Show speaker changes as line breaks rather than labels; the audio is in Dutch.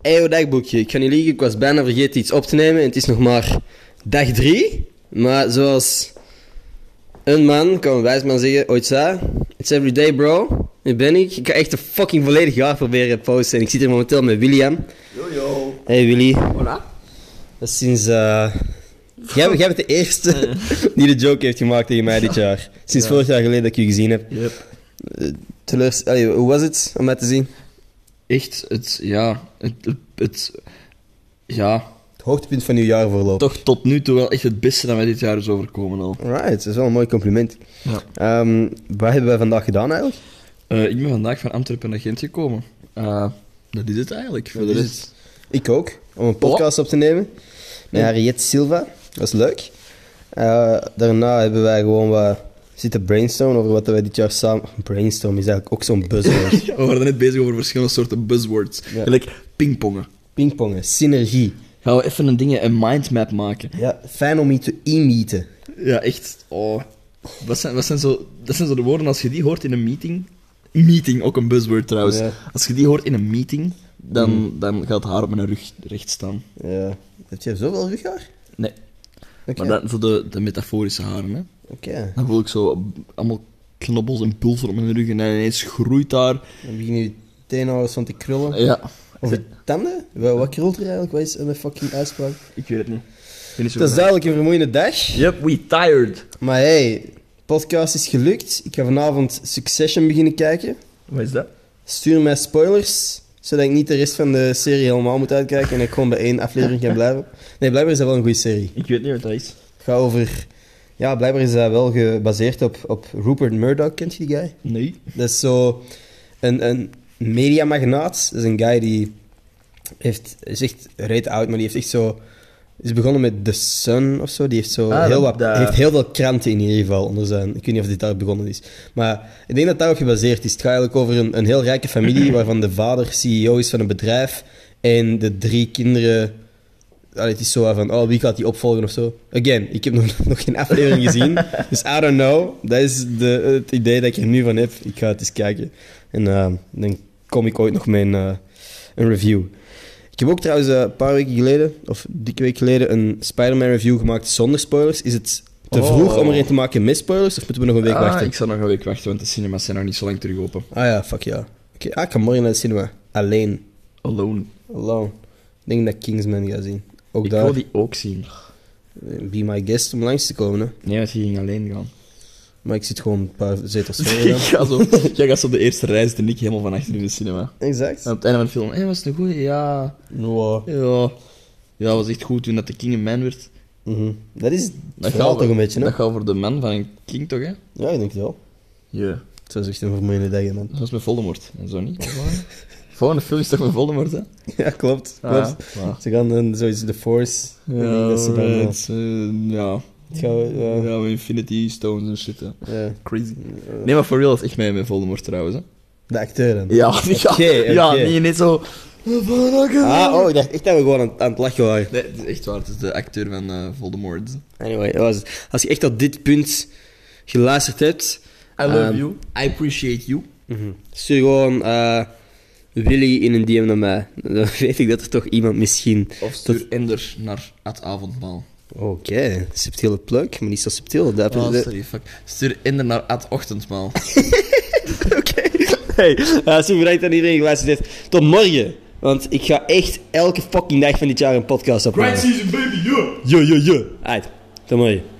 Eeuw dagboekje. Ik ga niet liegen, ik was bijna vergeten iets op te nemen. En het is nog maar dag drie. Maar zoals een man, kan een wijs man zeggen, ooit zei... It's every day, bro. Hier ben ik. Ik ga echt een fucking volledig jaar proberen te posten. En ik zit hier momenteel met William.
Yo, yo.
Hey Willy,
Voilà.
dat is sinds... eh, Jij, jij bent de eerste die de joke heeft gemaakt tegen mij dit jaar. Sinds
Ja.
vorig jaar geleden dat ik je gezien heb.
Yep.
Teleurs... Allee, hoe was het om mij te zien?
Echt, het, ja, het, het, het- ja,
Het hoogtepunt van uw jaar voorlopig.
toch tot nu toe wel echt het beste dat mij dit jaar is overkomen al.
Alright, dat is wel een mooi compliment.
Ja.
Ehm, wat hebben wij vandaag gedaan eigenlijk?
Eh, ik ben vandaag van Antwerpen naar Gent gekomen. Eh, dat is het eigenlijk. Voor de
is
rest.
Ik ook, om een podcast op te nemen. Met
Ja.
Harriet Silva, dat was leuk. Eh, daarna hebben wij gewoon wat zitten brainstormen over wat wij dit jaar samen... Brainstorm is eigenlijk ook zo'n buzzword.
We waren net bezig over verschillende soorten buzzwords.
Ja.
Gelijk pingpongen.
Pingpongen, synergie.
Gaan we even een ding, een mindmap maken.
Ja, fijn om je te e-meeten.
Ja, echt. Oh. Wat zijn, wat zijn zo, dat zijn zo de woorden als je die hoort in een meeting. Meeting, ook een buzzword trouwens.
Ja.
Als je die hoort in een meeting, dan, dan gaat haar op mijn rug recht staan.
Ja. Heb jij zoveel rughaar?
Nee.
Oké.
Maar dat, zo de, de metaforische haren, hè.
Oké.
Dan voel ik zo allemaal knobbels en pulsen op mijn rug en dan ineens groeit daar.
Dan beginnen je tenenhouders van te krullen.
Ja.
Of je tanden? Wat, wat krult er eigenlijk? Wat is een fucking uitspraak?
Ik weet het niet. Ik ben niet zo
Het is duidelijk een vermoeiende dag.
Yep, we tired.
Maar hey, podcast is gelukt. Ik ga vanavond Succession beginnen kijken.
Wat is dat?
Stuur mij spoilers, zodat ik niet de rest van de serie helemaal moet uitkijken en ik gewoon bij één aflevering kan blijven. Nee, blijkbaar is dat wel een goede serie.
Ik weet niet wat dat is.
Het gaat over... Ja, blijkbaar is dat wel gebaseerd op, op Rupert Murdoch. Kent je die guy?
Nee.
Dat is zo een, een mediamagnaat. Dat is een guy die heeft, is echt reet oud, maar die heeft echt zo... Is begonnen met The Sun of zo. Die heeft, zo
Ah,
heel,
dat-
wat,
dat-
heeft heel veel kranten in ieder geval onder zijn. Ik weet niet of dit daar begonnen is. Maar ik denk dat daarop gebaseerd is. Het gaat eigenlijk over een, een heel rijke familie waarvan de vader CEO is van een bedrijf en de drie kinderen. Allee, het is zo van, oh, wie gaat die opvolgen of zo? Again, ik heb nog, nog geen aflevering gezien. Dus I don't know. Dat is de, het idee dat ik er nu van heb. Ik ga het eens kijken. En eh, dan kom ik ooit nog mijn eh, een review. Ik heb ook trouwens eh, een paar weken geleden, of dikke week geleden, een Spider-Man review gemaakt zonder spoilers. Is het te
Oh.
vroeg om erin te maken met spoilers? Of moeten we nog een week
ah,
wachten?
ik zal nog een week wachten, want de cinemas zijn nog niet zo lang terug open.
Ah ja, fuck ja. Oké, ah, ik ga morgen naar de cinema. Alleen.
Alone.
Alone. Ik denk dat ik Kingsman ga zien. Ook
ik
daar.
wil die ook zien.
Be my guest om langs te komen, hè.
Nee, want je ging alleen gaan.
Maar ik zit gewoon een paar zetels voor.
Jij
dan.
gaat zo, jij gaat zo de eerste reis en ik helemaal van achter in de cinema. En
Exact.
aan het einde van de film, hé, was het een goeie? Ja. nou, eh,
Wow.
Ja. Ja, dat was echt goed toen dat de King een man werd.
Mhm. Dat is
Dat
het verhaal
gaat
toch een beetje, hè?
Dat gaat voor de man van een King toch, hè? Ja.
Ja, ik denk het wel. Het was echt een vermoeiende dag, hè, man.
Dat was met Voldemort en zo niet. Volgende film is toch met Voldemort, hè?
Ah, Ja, klopt. klopt. Ze gaan dan zoiets The Force. Ik denk
Ah. Ja,
dat ze dan, eh,
right, eh, ja.
het gaan we-
Ja,
ja,
met Infinity Stones en shit, hè.
ja.
Crazy.
Eh,
Nee, maar for real, dat is echt met, met Voldemort trouwens, hè?
De acteur dan.
Ja, die gaat-
Oké, oké.
ja, niet ineens zo...
Ah, oh, ik dacht echt dat we gewoon aan, aan het lachen waren.
Nee, het is echt waar. Het is de acteur van eh, Voldemort. I
Anyway, dat was het. als je echt tot dit punt geluisterd hebt, love
you. Ehm, I appreciate you.
stuur gewoon eh, Willy in een DM naar mij. Dan weet ik dat er toch iemand misschien...
Of stuur Ender naar het avondmaal.
Oké, subtiele pluk, maar niet zo subtiel. Dat
Oh, sorry, fuck. Stuur Ender naar het ochtendmaal.
Oké. Hey, eh, super bedankt aan iedereen die geluisterd heeft. Tot morgen. Want ik ga echt elke fucking dag van dit jaar een podcast opnemen.
season, baby, yeah!
Yo, yo, yo. Uit. Tot morgen.